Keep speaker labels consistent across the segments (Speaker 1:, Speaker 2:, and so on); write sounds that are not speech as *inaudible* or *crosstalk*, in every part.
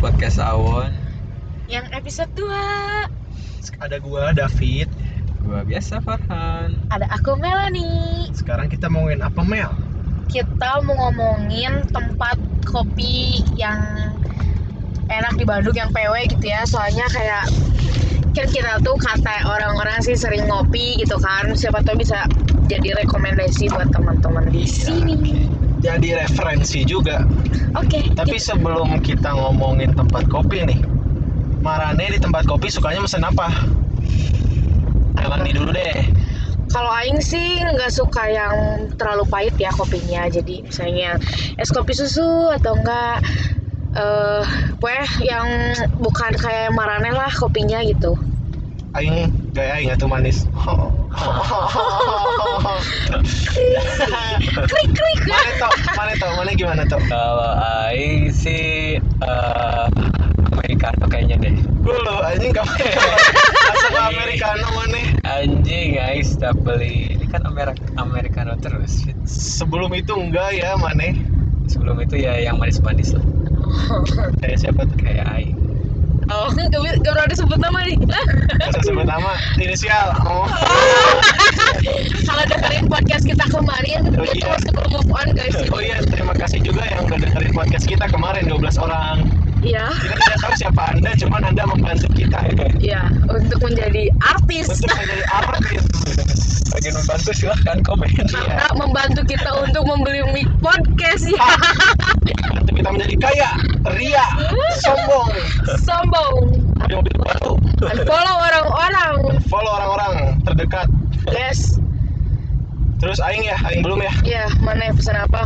Speaker 1: podcast Awon.
Speaker 2: Yang episode 2
Speaker 3: Ada gua David.
Speaker 1: Gua biasa Farhan.
Speaker 2: Ada aku Melanie
Speaker 3: Sekarang kita mau ngomongin apa Mel?
Speaker 2: Kita mau ngomongin tempat kopi yang enak di Bandung yang PW gitu ya Soalnya kayak kan kita tuh kata orang-orang sih sering ngopi gitu kan Siapa tahu bisa jadi rekomendasi buat teman-teman di
Speaker 3: Iya,
Speaker 2: sini
Speaker 3: Jadi referensi juga.
Speaker 2: Oke
Speaker 3: Tapi sebelum kita ngomongin tempat kopi nih, Marane di tempat kopi sukanya mesen apa? Melani dulu deh.
Speaker 2: Kalau Aing sih nggak suka yang terlalu pahit ya kopinya. Jadi misalnya es kopi susu atau enggak eh pokoknya yang bukan kayak marane lah kopinya gitu.
Speaker 3: Aing gak aing atuh manis. *laughs*
Speaker 2: Krik krik.
Speaker 3: Mane toh, mane toh, mane gimana toh?
Speaker 1: Kalau Aing sih eh Americano kayaknya deh.
Speaker 3: Dulu anjing gak
Speaker 2: *laughs*
Speaker 3: Asal Americano mane.
Speaker 1: Anjing Aing setiap beli ini kan Amer Americano terus. Fit.
Speaker 3: Sebelum itu enggak ya mane.
Speaker 1: Sebelum itu ya yang manis-manis lah
Speaker 3: Kayak siapa tuh?
Speaker 1: kayak Aing.
Speaker 2: Oh, *laughs* nggak bi- nggak berani sebut nama nih. *laughs*
Speaker 3: Masa sebut nama inisial. Oh.
Speaker 2: Kalau dengerin podcast kita kemarin,
Speaker 3: Oh,
Speaker 2: itu
Speaker 3: iya.
Speaker 2: sebelum move on guys.
Speaker 3: Oh iya, terima kasih juga yang udah dengerin podcast kita kemarin 12 orang.
Speaker 2: Iya,
Speaker 3: Kita tidak tahu siapa Anda, cuman Anda membantu kita
Speaker 2: iya. Untuk menjadi artis.
Speaker 3: untuk menjadi artis.
Speaker 1: Bagi yang membantu silahkan komen.
Speaker 3: Iya.
Speaker 2: Karena membantu kita untuk membeli mic podcast
Speaker 3: *laughs*
Speaker 2: ya.
Speaker 3: Untuk kita menjadi kaya, ria, sombong,
Speaker 2: Sombong.
Speaker 3: ada mobil baru.
Speaker 2: Unfollow orang-orang.
Speaker 3: Follow orang-orang terdekat.
Speaker 2: Yes.
Speaker 3: Terus aing ya, aing belum ya.
Speaker 2: Ya, mana yang pesan apa?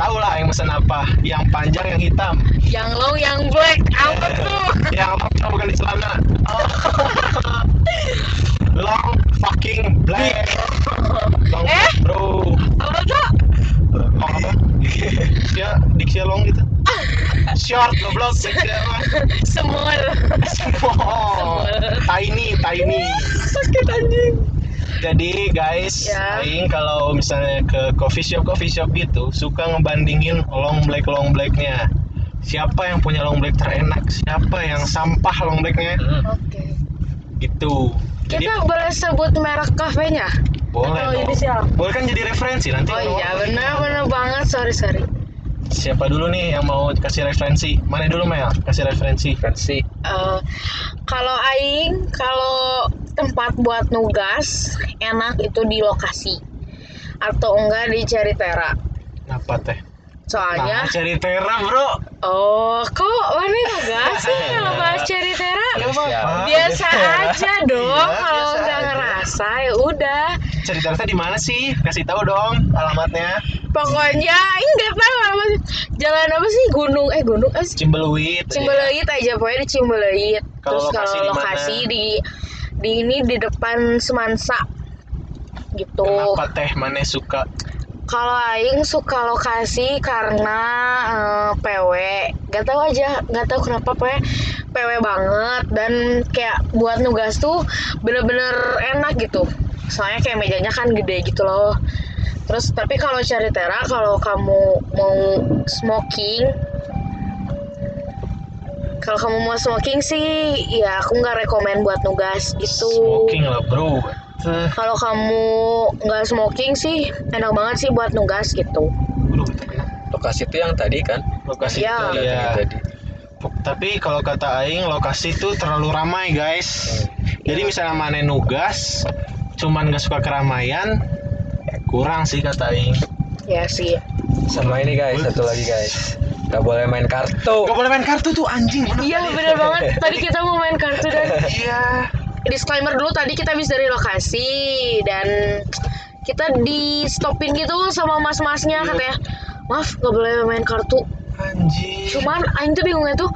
Speaker 3: Tahu lah aing pesan apa, yang panjang, yang hitam,
Speaker 2: Yang long, yang black. Apa tuh?
Speaker 3: yang long bukan di celana. Oh. *laughs* Long fucking black. Long
Speaker 2: Eh?
Speaker 3: bro.
Speaker 2: Apa tuh?
Speaker 3: Long apa? ya diksi long gitu short goblok diksi apa
Speaker 2: Semua.
Speaker 3: Small. tiny tiny
Speaker 2: Sakit anjing.
Speaker 3: jadi guys
Speaker 2: Ya.
Speaker 3: Aing kalau misalnya ke coffee shop coffee shop gitu suka ngebandingin long black long blacknya siapa yang punya long black terenak siapa yang sampah long blacknya
Speaker 1: Hmm.
Speaker 2: Oke.
Speaker 3: gitu jadi
Speaker 2: Kita boleh sebut merek kafenya?
Speaker 3: boleh
Speaker 2: atau
Speaker 3: dong.
Speaker 2: inisial?
Speaker 3: boleh kan jadi referensi nanti
Speaker 2: Oh
Speaker 3: kalau-
Speaker 2: iya, benar-benar banget. Sorry, sorry.
Speaker 3: siapa dulu nih yang mau kasih referensi mana dulu Mel kasih referensi
Speaker 1: Fancy.
Speaker 2: Eh, kalau aing kalau tempat buat nugas enak itu di lokasi atau enggak di Ceritera
Speaker 3: apa teh Nah,
Speaker 2: soalnya
Speaker 3: cari tera bro
Speaker 2: oh kok mana nugas sih kalau bahas Ceritera
Speaker 3: Gak apa-apa.
Speaker 2: biasa aja dong
Speaker 3: Oh, ya? Iya,
Speaker 2: kalau
Speaker 3: biasa
Speaker 2: nggak
Speaker 3: aja.
Speaker 2: ngerasa ya udah
Speaker 3: Cerita Rasa di mana sih? Kasih tahu dong alamatnya.
Speaker 2: pokoknya ini nggak tahu apa sih. jalan apa sih gunung eh gunung eh sih.
Speaker 3: Cimbeleuit.
Speaker 2: Cimbeleuit aja pokoknya di Cimbeleuit
Speaker 3: ya? Kalau
Speaker 2: terus
Speaker 3: lokasi
Speaker 2: kalau
Speaker 3: di mana?
Speaker 2: lokasi di di ini di depan Semansa gitu
Speaker 3: Kenapa teh mana suka?
Speaker 2: kalau Aing suka lokasi karena eh, PW gak tahu aja gak tahu kenapa pokoknya PW banget dan kayak buat nugas tuh bener-bener enak gitu soalnya kayak mejanya kan gede gitu loh terus tapi kalau cari tera kalau kamu mau smoking kalau kamu mau smoking sih ya aku nggak rekomen buat nugas gitu
Speaker 3: Smoking lah bro. Tuh.
Speaker 2: kalau kamu nggak smoking sih enak banget sih buat nugas gitu
Speaker 3: Aduh, itu enak.
Speaker 1: Lokasi itu yang tadi kan?
Speaker 3: Lokasi
Speaker 2: Iya.
Speaker 3: itu ya.
Speaker 1: Ada yang tadi.
Speaker 3: Tapi kalau kata Aing lokasi itu terlalu ramai guys. Jadi misalnya mana nugas, cuman gak suka keramaian, ya kurang sih kata Aing.
Speaker 2: ya sih
Speaker 1: Sama ini guys, satu lagi guys. Gak boleh main kartu.
Speaker 3: Gak boleh main kartu tuh anjing. bener
Speaker 2: iya
Speaker 3: tadi.
Speaker 2: bener banget tadi kita mau main kartu dan
Speaker 3: Iya.
Speaker 2: disclaimer dulu tadi kita habis dari lokasi dan kita di stopin gitu sama mas-masnya katanya maaf nggak boleh main kartu
Speaker 3: Anjing.
Speaker 2: cuman Aing tuh bingungnya tuh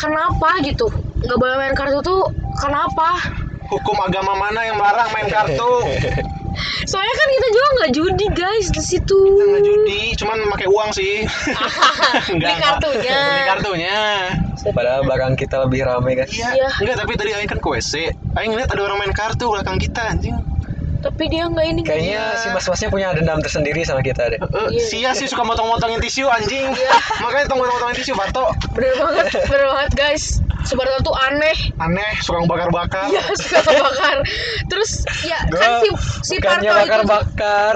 Speaker 2: kenapa gitu nggak boleh main kartu tuh kenapa
Speaker 3: Hukum agama mana yang melarang main kartu?
Speaker 2: soalnya kan kita juga nggak judi guys di situ
Speaker 3: Nggak judi, cuman pakai uang sih.
Speaker 2: *laughs* beli
Speaker 3: Enggak,
Speaker 2: kartunya
Speaker 3: Beli kartunya.
Speaker 1: Padahal barang kita lebih rame guys.
Speaker 3: Iya.
Speaker 2: Iya.
Speaker 3: Enggak, tapi tadi Aing kan ke WC. Aing lihat ada orang main kartu belakang kita anjing.
Speaker 2: tapi dia nggak ini
Speaker 1: Kayaknya si mas-masnya punya dendam tersendiri sama kita deh.
Speaker 3: Eh,
Speaker 2: Iya.
Speaker 3: sia sih suka motong-motongin tisu anjing.
Speaker 1: Iya.
Speaker 3: *laughs* Makanya tong motong-motongin tisu batok.
Speaker 2: bener banget bener banget guys Subarto tuh aneh
Speaker 3: Aneh, suka bakar-bakar.
Speaker 1: Iya.
Speaker 2: ya *laughs* suka terbakar terus ya kan si si Parto
Speaker 1: bukannya
Speaker 2: itu
Speaker 1: bakar bakar.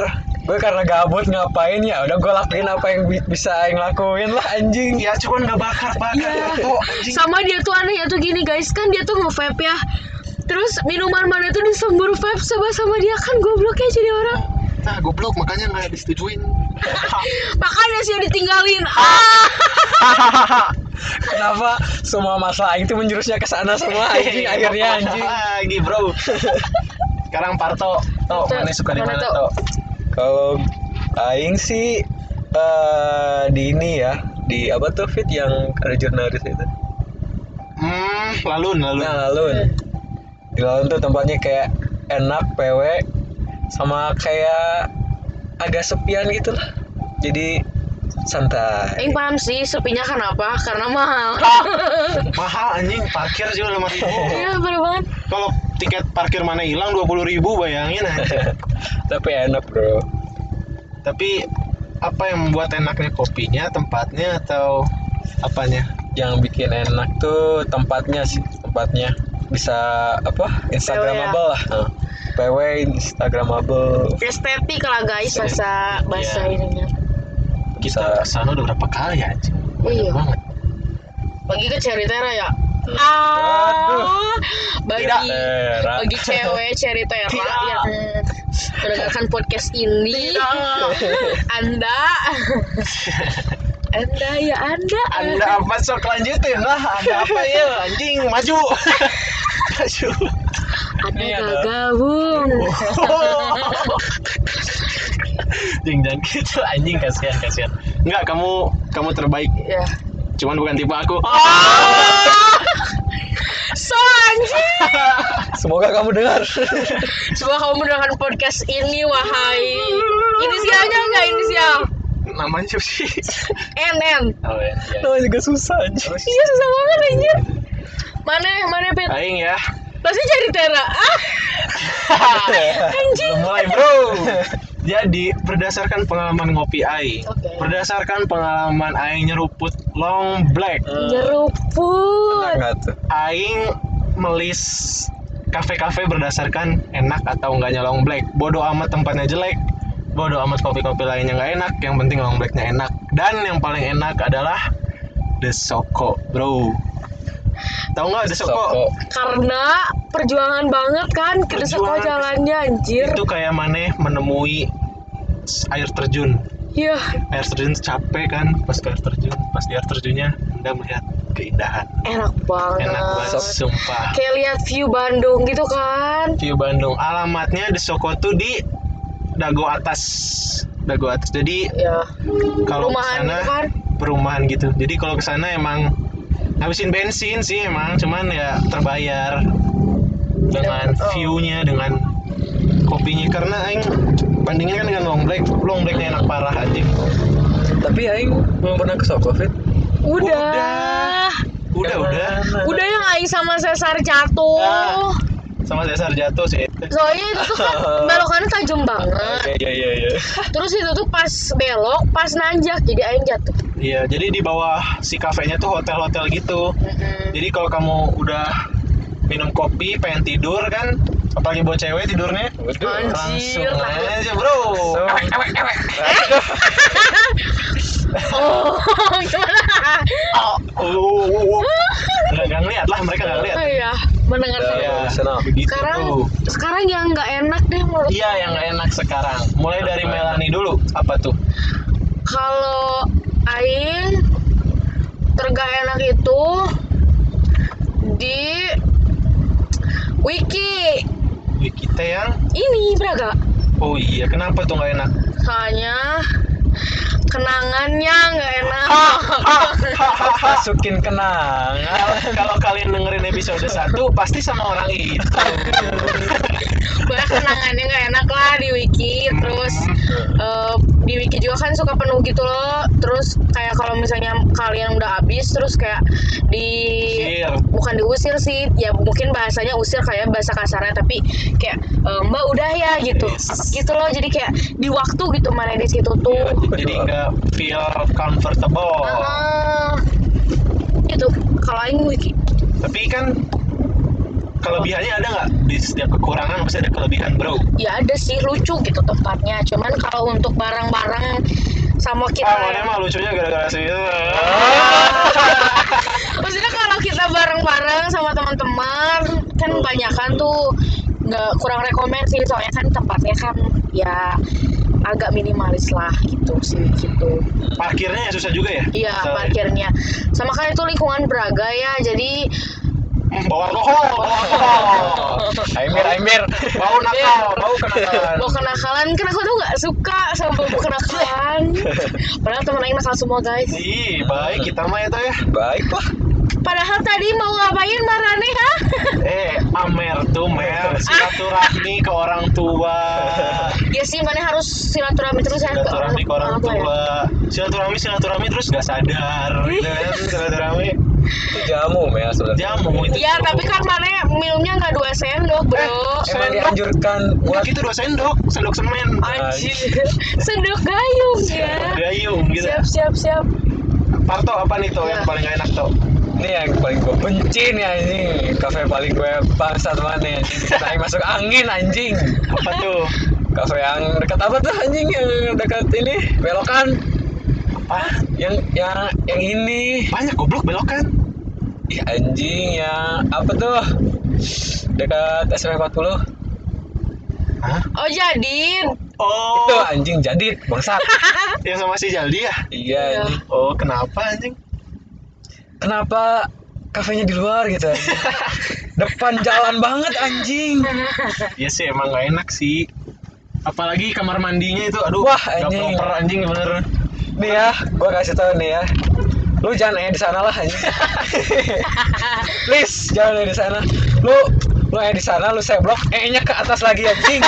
Speaker 1: Gue karena gabut ngapain ya? Udah gue lakuin apa yang bi- bisa yang lakuin lah anjing.
Speaker 3: Ya cuman nggak bakar-bakar
Speaker 1: Iya.
Speaker 3: batok anjing.
Speaker 2: sama dia tuh aneh ya tuh gini guys kan dia tuh nge-vape ya terus minuman mana tuh disembur vape sebab sama dia kan gobloknya jadi orang
Speaker 3: Nah, goblok makanya nggak disetujuin.
Speaker 2: makanya sih yang ditinggalin ah
Speaker 1: Kenapa semua masalah itu menjurusnya ke sana semua
Speaker 3: *laughs*
Speaker 1: anjing akhirnya
Speaker 2: *laughs*
Speaker 1: anjing.
Speaker 3: Lagi,
Speaker 1: *laughs*
Speaker 3: Bro. Sekarang Parto, Tok,
Speaker 2: Parto,
Speaker 3: mana suka di mana,
Speaker 2: mana, Tok?
Speaker 3: Tok?
Speaker 1: Kalau aing sih eh, di ini ya di apa tuh fit yang ada jurnalis itu.
Speaker 3: Hmm, lalun, lalun.
Speaker 1: Nah, Lalun. Di Lalun tuh tempatnya kayak enak, PW sama kayak agak sepian gitu lah. Jadi santai.
Speaker 2: Aing paham sih sepinya kenapa karena mahal
Speaker 1: Nah.
Speaker 3: *laughs* Mahal anjing, parkir juga 5000.
Speaker 2: Iya bener banget
Speaker 3: Kalau tiket parkir mana hilang 20.000 bayangin anjing.
Speaker 1: Tapi enak, Bro.
Speaker 3: Tapi apa yang membuat enaknya kopinya, tempatnya atau apanya?
Speaker 1: Yang bikin enak tuh tempatnya sih, tempatnya bisa apa? Instagramable lah. Nah, PW Instagramable.
Speaker 2: estetik lah guys
Speaker 1: Estetik,
Speaker 2: bahasa bahasa
Speaker 3: iya.
Speaker 2: ininya
Speaker 3: Kita
Speaker 1: Bisa.
Speaker 3: kesana udah berapa kali anjing? Banyak
Speaker 2: Iya.
Speaker 3: banget.
Speaker 2: bagi ke Cherry Tera ya ah
Speaker 1: Aduh.
Speaker 2: bagi
Speaker 1: Tidak heran.
Speaker 2: bagi cewek Cherry Tera
Speaker 3: Tidak.
Speaker 2: yang mendengarkan podcast ini
Speaker 3: Iya.
Speaker 2: *laughs* anda anda ya anda
Speaker 3: Anda apa sok lanjutin lah Anda apa ya anjing maju Maju *laughs*
Speaker 2: Anda
Speaker 1: Iya,
Speaker 2: gak gabung
Speaker 3: Oh. Jeng jangan gitu anjing kasihan kasihan Enggak kamu kamu terbaik
Speaker 2: ya
Speaker 3: Cuman bukan tipe aku Ah.
Speaker 2: so anjing
Speaker 1: Semoga kamu dengar.
Speaker 2: semoga kamu mendengarkan podcast ini wahai inisialnya enggak inisial
Speaker 3: Namanya siapa sih
Speaker 2: NN
Speaker 3: Oh iya iya.
Speaker 1: Namanya juga susah anjing.
Speaker 2: *laughs* iya susah banget anjir mana mana pet
Speaker 3: Aing ya
Speaker 2: pasti cari Tera ah anjing
Speaker 3: Mulai bro Jadi berdasarkan pengalaman ngopi Aing
Speaker 2: Oke.
Speaker 3: Berdasarkan pengalaman Aing nyeruput long black
Speaker 1: Enak
Speaker 2: nyeruput
Speaker 1: Eh. nggak tuh?
Speaker 3: Aing melis kafe-kafe berdasarkan enak atau enggaknya long black. Bodoh amat tempatnya jelek. Bodoh amat kopi-kopi lainnya nggak enak. Yang penting long blacknya enak. Dan yang paling enak adalah The Soko, bro. Tahu nggak The Soko?
Speaker 1: Soko.
Speaker 2: karena perjuangan banget kan kita sekolah
Speaker 3: Perjuangan.
Speaker 2: jalannya anjir
Speaker 3: Itu kayak maneh menemui s- air terjun.
Speaker 2: iya
Speaker 3: Air terjun capek kan pas ke air terjun. Pas di air terjunnya Anda melihat keindahan.
Speaker 2: enak banget
Speaker 3: Enak banget, sumpah.
Speaker 2: kayak lihat view Bandung gitu kan
Speaker 3: View Bandung. Alamatnya di Soko tuh di Dago atas. Dago atas. Jadi
Speaker 2: ya
Speaker 3: kalau ke
Speaker 2: rumahan
Speaker 3: sana
Speaker 2: gitu kan
Speaker 3: perumahan gitu. Jadi kalau ke sana emang habisin bensin sih emang, cuman ya terbayar dengan
Speaker 2: Oh.
Speaker 3: view-nya dengan kopinya karena aing bandingin kan dengan long black. Long blacknya enak parah anjing.
Speaker 1: Tapi Aing belum pernah ke Soko, Fit.
Speaker 2: udah
Speaker 3: Udah. Udah
Speaker 1: Yang
Speaker 3: udah
Speaker 1: mana?
Speaker 2: udah yang Aing sama Cesar jatuh
Speaker 3: Ah. sama Cesar jatuh sih.
Speaker 2: soalnya itu tuh
Speaker 3: *laughs*
Speaker 2: kan belokannya tajam banget
Speaker 1: Iya iya iya. iya.
Speaker 2: terus itu tuh pas belok pas nanjak jadi Aing jatuh
Speaker 3: Iya, jadi di bawah si kafenya tuh hotel-hotel gitu. Jadi kalau kamu udah minum kopi, pengen tidur kan, apalagi buat cewek tidurnya,
Speaker 1: Waduh.
Speaker 3: langsung
Speaker 2: Anjir,
Speaker 3: aja bro.
Speaker 1: So,
Speaker 2: oh *laughs* gimana
Speaker 3: Oh, oh, oh, oh. Nggak nggak ngeliat lah, mereka nggak ngeliat.
Speaker 2: oh iya mendengar
Speaker 1: Udah.
Speaker 2: saya
Speaker 3: Iya,
Speaker 1: Senang.
Speaker 3: begitu
Speaker 2: sekarang
Speaker 3: tuh.
Speaker 2: sekarang yang nggak enak deh menurut
Speaker 3: Iya, yang nggak enak sekarang. Mulai dari
Speaker 1: Apa?
Speaker 3: Melani dulu. Apa tuh?
Speaker 2: kalau Aing tergak enak itu di wiki
Speaker 3: Wih, kita yang
Speaker 2: ini Braga
Speaker 3: Oh iya, kenapa tuh nggak enak?
Speaker 2: soalnya kenangannya nggak enak
Speaker 3: Ah.
Speaker 1: masukin kenangan.
Speaker 3: Kalau- Ya, Kalau kalian dengerin episode 1 pasti sama orang itu.
Speaker 2: banyak kenangannya nggak enak lah di wiki terus eh, di wiki juga juga kan suka penuh gitu loh terus kayak kalau misalnya kalian udah habis terus kayak
Speaker 3: Hmm,
Speaker 2: di
Speaker 3: Sir.
Speaker 2: bukan diusir sih ya mungkin bahasanya usir kayak bahasa kasarnya tapi kayak e, mbak udah ya gitu
Speaker 3: Yes.
Speaker 2: gitu loh jadi kayak di waktu gitu mana di situ tuh
Speaker 3: Iya, jadi nggak feel comfortable.
Speaker 2: Uh-uh. Heeh. Ah, gitu kalau aing wiki
Speaker 3: Tapi kan kelebihannya ada nggak di setiap kekurangan pasti ada kelebihan bro.
Speaker 2: ya ada sih lucu gitu tempatnya cuman kalau untuk barang-barang sama kita
Speaker 3: Ah, mana mah lucunya gara-gara sih.
Speaker 2: *laughs* maksudnya kalau kita bareng-bareng sama teman-teman kan banyak kan tuh nggak kurang rekomend sih soalnya kan tempatnya kan ya agak minimalis lah gitu sih gitu
Speaker 3: Parkirnya ya susah juga ya.
Speaker 2: iya
Speaker 3: Soalnya.
Speaker 2: parkirnya sama kan itu lingkungan Braga ya
Speaker 3: *laughs*
Speaker 2: jadi
Speaker 3: Hmm, Bawa alkohol, bawa alkohol.
Speaker 1: Aimir, Aimir.
Speaker 3: Bau
Speaker 2: Iya.
Speaker 3: nakal, bau kenakalan.
Speaker 2: eh, bawa kenakalan kan aku tuh nggak suka sama bawa
Speaker 3: *laughs*
Speaker 2: kenakalan padahal temen Aing nakal semua guys
Speaker 3: Ih, baik kita mah itu ya.
Speaker 1: Baik lah.
Speaker 2: padahal tadi mau ngapain marane ha *laughs*
Speaker 3: Eh, Amer tuh Mer, silaturahmi ke orang tua.
Speaker 2: ya sih mana harus silaturahmi terus ya
Speaker 3: Silaturahmi ke orang
Speaker 2: apa ya?
Speaker 3: tua. Silaturahmi silaturahmi terus gak sadar gitu kan
Speaker 2: Iya.
Speaker 3: silaturahmi.
Speaker 1: Itu jamu Mel sebenarnya.
Speaker 3: Jamu itu.
Speaker 2: Ya tapi kan mana minumnya nggak dua sendok bro
Speaker 3: Eh,
Speaker 1: Emang
Speaker 3: Sendok.
Speaker 1: dianjurkan
Speaker 3: Buat
Speaker 1: buat
Speaker 3: itu gitu dua sendok, sendok semen.
Speaker 2: Anjir *laughs* Sendok gayung ya
Speaker 3: eh, Gayung gitu.
Speaker 2: Siap siap siap
Speaker 3: Parto apa nih tuh yang
Speaker 2: Iya.
Speaker 3: paling gak enak tuh?
Speaker 1: ini yang paling gue benci nih anjing. Kafe paling gue bangsat mana anjing. Naik masuk angin anjing.
Speaker 3: Apa tuh?
Speaker 1: Kafe yang dekat apa tuh anjing yang dekat ini belokan
Speaker 3: Ah,
Speaker 1: yang yang yang ini
Speaker 3: banyak goblok belok kan?
Speaker 1: Ih, anjing yang apa tuh dekat SMP 40
Speaker 3: Hah?
Speaker 2: Oh jadi
Speaker 3: Oh,
Speaker 1: itu anjing jadi bangsat
Speaker 3: yang sama si Jaldi ya?
Speaker 1: iya anjing.
Speaker 3: Oh, kenapa anjing?
Speaker 1: kenapa kafenya di luar gitu anjing? depan jalan banget anjing
Speaker 2: Nah.
Speaker 3: Iya sih emang gak enak sih. Apalagi kamar mandinya itu, aduh,
Speaker 1: Wah,
Speaker 3: gak
Speaker 1: anjing.
Speaker 3: proper anjing bener.
Speaker 1: nih ya gua kasih tau nih ya lu jangan eh di sana lah anjing please jangan eh di sana lu lu eh di sana lu saya blok eh nya ke atas lagi anjing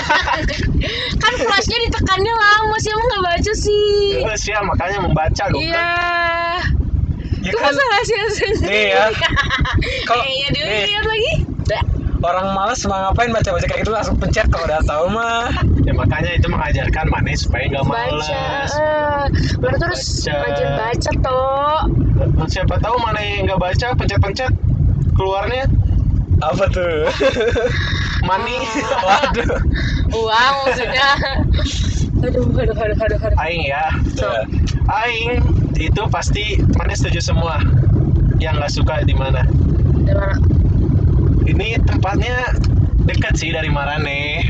Speaker 2: Kan flashnya ditekannya lama sih Emang nggak baca sih
Speaker 3: Terus ya makanya membaca dong.
Speaker 2: Iya
Speaker 1: ya
Speaker 3: Iya
Speaker 2: Itu
Speaker 1: kan
Speaker 2: masa rahasia
Speaker 1: Nih
Speaker 2: sendiri
Speaker 1: ya. Kalau-
Speaker 2: Kalau Iya
Speaker 1: nih.
Speaker 2: dilihat lagi Dah.
Speaker 1: orang malas mah ngapain baca-baca kayak gitu langsung pencet kalau udah tahu mah
Speaker 3: Ya makanya itu mengajarkan mana supaya gak males.
Speaker 2: Baca eh. Bener terus
Speaker 3: Baca.
Speaker 2: Rajin baca toh
Speaker 3: Eh, Siapa tahu mana yang gak baca, pencet-pencet keluarnya
Speaker 1: apa tuh
Speaker 3: mani.
Speaker 2: Oh.
Speaker 1: waduh
Speaker 2: Uang maksudnya Aduh aduh aduh aduh aduh
Speaker 3: *laughs* Aing ya,
Speaker 1: Ya.
Speaker 3: Aing itu pasti mana setuju semua yang nggak suka di mana.
Speaker 2: Dari mana?
Speaker 3: Ini tempatnya dekat sih dari
Speaker 1: *laughs*
Speaker 3: Marane.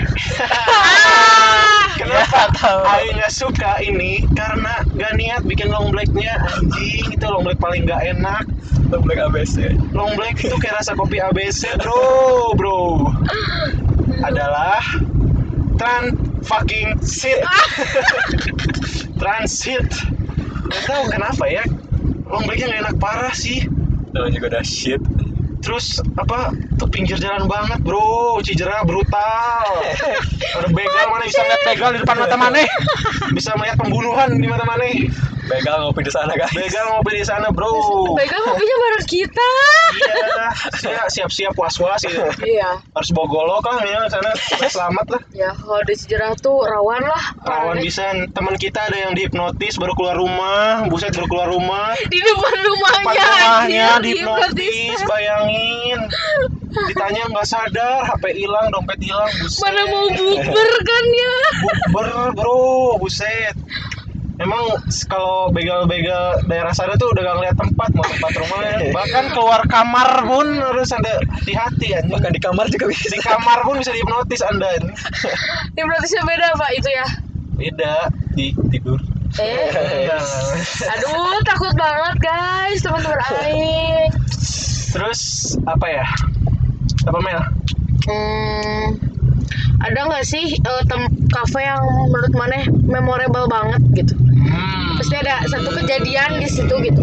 Speaker 1: Ya,
Speaker 3: Kenapa?
Speaker 1: tahu.
Speaker 3: Aing nggak suka ini karena nggak niat bikin long blacknya anjing itu long black paling nggak enak.
Speaker 1: Black ABC
Speaker 3: Long black itu kayak rasa kopi ABC bro bro. Adalah trans fucking sit transit. Gak tahu kenapa ya. Long blacknya nggak enak parah sih.
Speaker 1: namanya juga udah shit
Speaker 3: Terus apa tuh pinggir jalan banget bro, Cijera brutal. Ada begal mana bisa ngeliat begal di depan mata maneh. Bisa melihat pembunuhan di mata maneh.
Speaker 1: begal ngopi di sana guys
Speaker 3: Begal ngopi di sana bro.
Speaker 2: Baiklah pokoknya bareng kita
Speaker 3: Iya, saya siap-siap was-was gitu.
Speaker 2: Iya
Speaker 3: Harus bawa golok lah minimal di ya, sana
Speaker 2: *laughs*
Speaker 3: supaya selamat lah.
Speaker 2: Ya kalau di sejarah tuh rawan lah
Speaker 3: Rawan
Speaker 2: Parane.
Speaker 3: bisa teman kita ada yang dihipnotis baru keluar rumah, buset baru keluar rumah.
Speaker 2: Di depan
Speaker 3: Depan
Speaker 2: rumahnya
Speaker 3: rumahnya
Speaker 2: Iya, anjir,
Speaker 3: dihipnotis,
Speaker 2: dihipnotis.
Speaker 3: bayangin. Ditanya nggak sadar, HP hilang, dompet hilang, buset.
Speaker 2: Mana mau bukber kan
Speaker 3: *laughs*
Speaker 2: ya
Speaker 3: bukber bro buset Emang s- kalau begal-begal daerah sana tuh udah gak ngeliat tempat mau tempat
Speaker 2: *laughs*
Speaker 3: rumahnya Bahkan keluar kamar pun harus ada hati-hati anjing
Speaker 1: bahkan di kamar juga bisa
Speaker 3: Di kamar pun bisa dihipnotis anda ini.
Speaker 2: Hipnotisnya beda pak itu ya
Speaker 3: Beda di tidur Iya.
Speaker 2: Eh Aduh takut banget guys teman-teman Aing
Speaker 3: Terus apa ya? Apa Mel?
Speaker 2: hmm, Ada nggak sih eh, tem- kafe yang menurut maneh memorable banget gitu
Speaker 3: Hmm.
Speaker 2: Pasti ada satu kejadian di situ gitu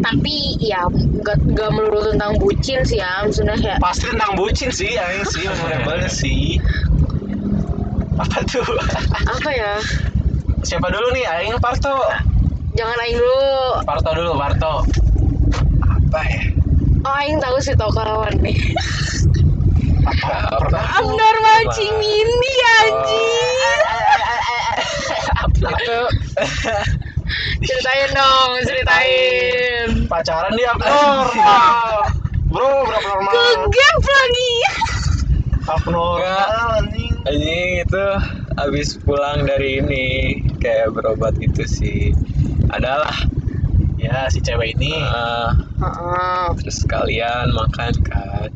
Speaker 2: Tapi ya nggak nggak melulu tentang bucin sih ya Maksudnya kayak
Speaker 3: Pasti tentang bucin sih, yang sih, memorable sih Apa tuh? *laughs*
Speaker 2: apa ya
Speaker 3: siapa dulu nih aing Parto
Speaker 2: Jangan aing dulu.
Speaker 3: Parto dulu Parto apa ya
Speaker 2: Oh, aing tahu sih toko lawan nih.
Speaker 3: apa pernah
Speaker 2: Amdar mancing mini anjing.
Speaker 1: itu
Speaker 2: *laughs* Ceritain dong, ceritain.
Speaker 3: pacaran dia abnormal bro berapa normal
Speaker 2: Ke gap lagi.
Speaker 3: abnormal anjing
Speaker 1: anjing itu abis pulang dari ini kayak berobat gitu sih adalah
Speaker 3: ya si cewek ini
Speaker 1: eh,
Speaker 2: Heeh.
Speaker 1: terus kalian makan kan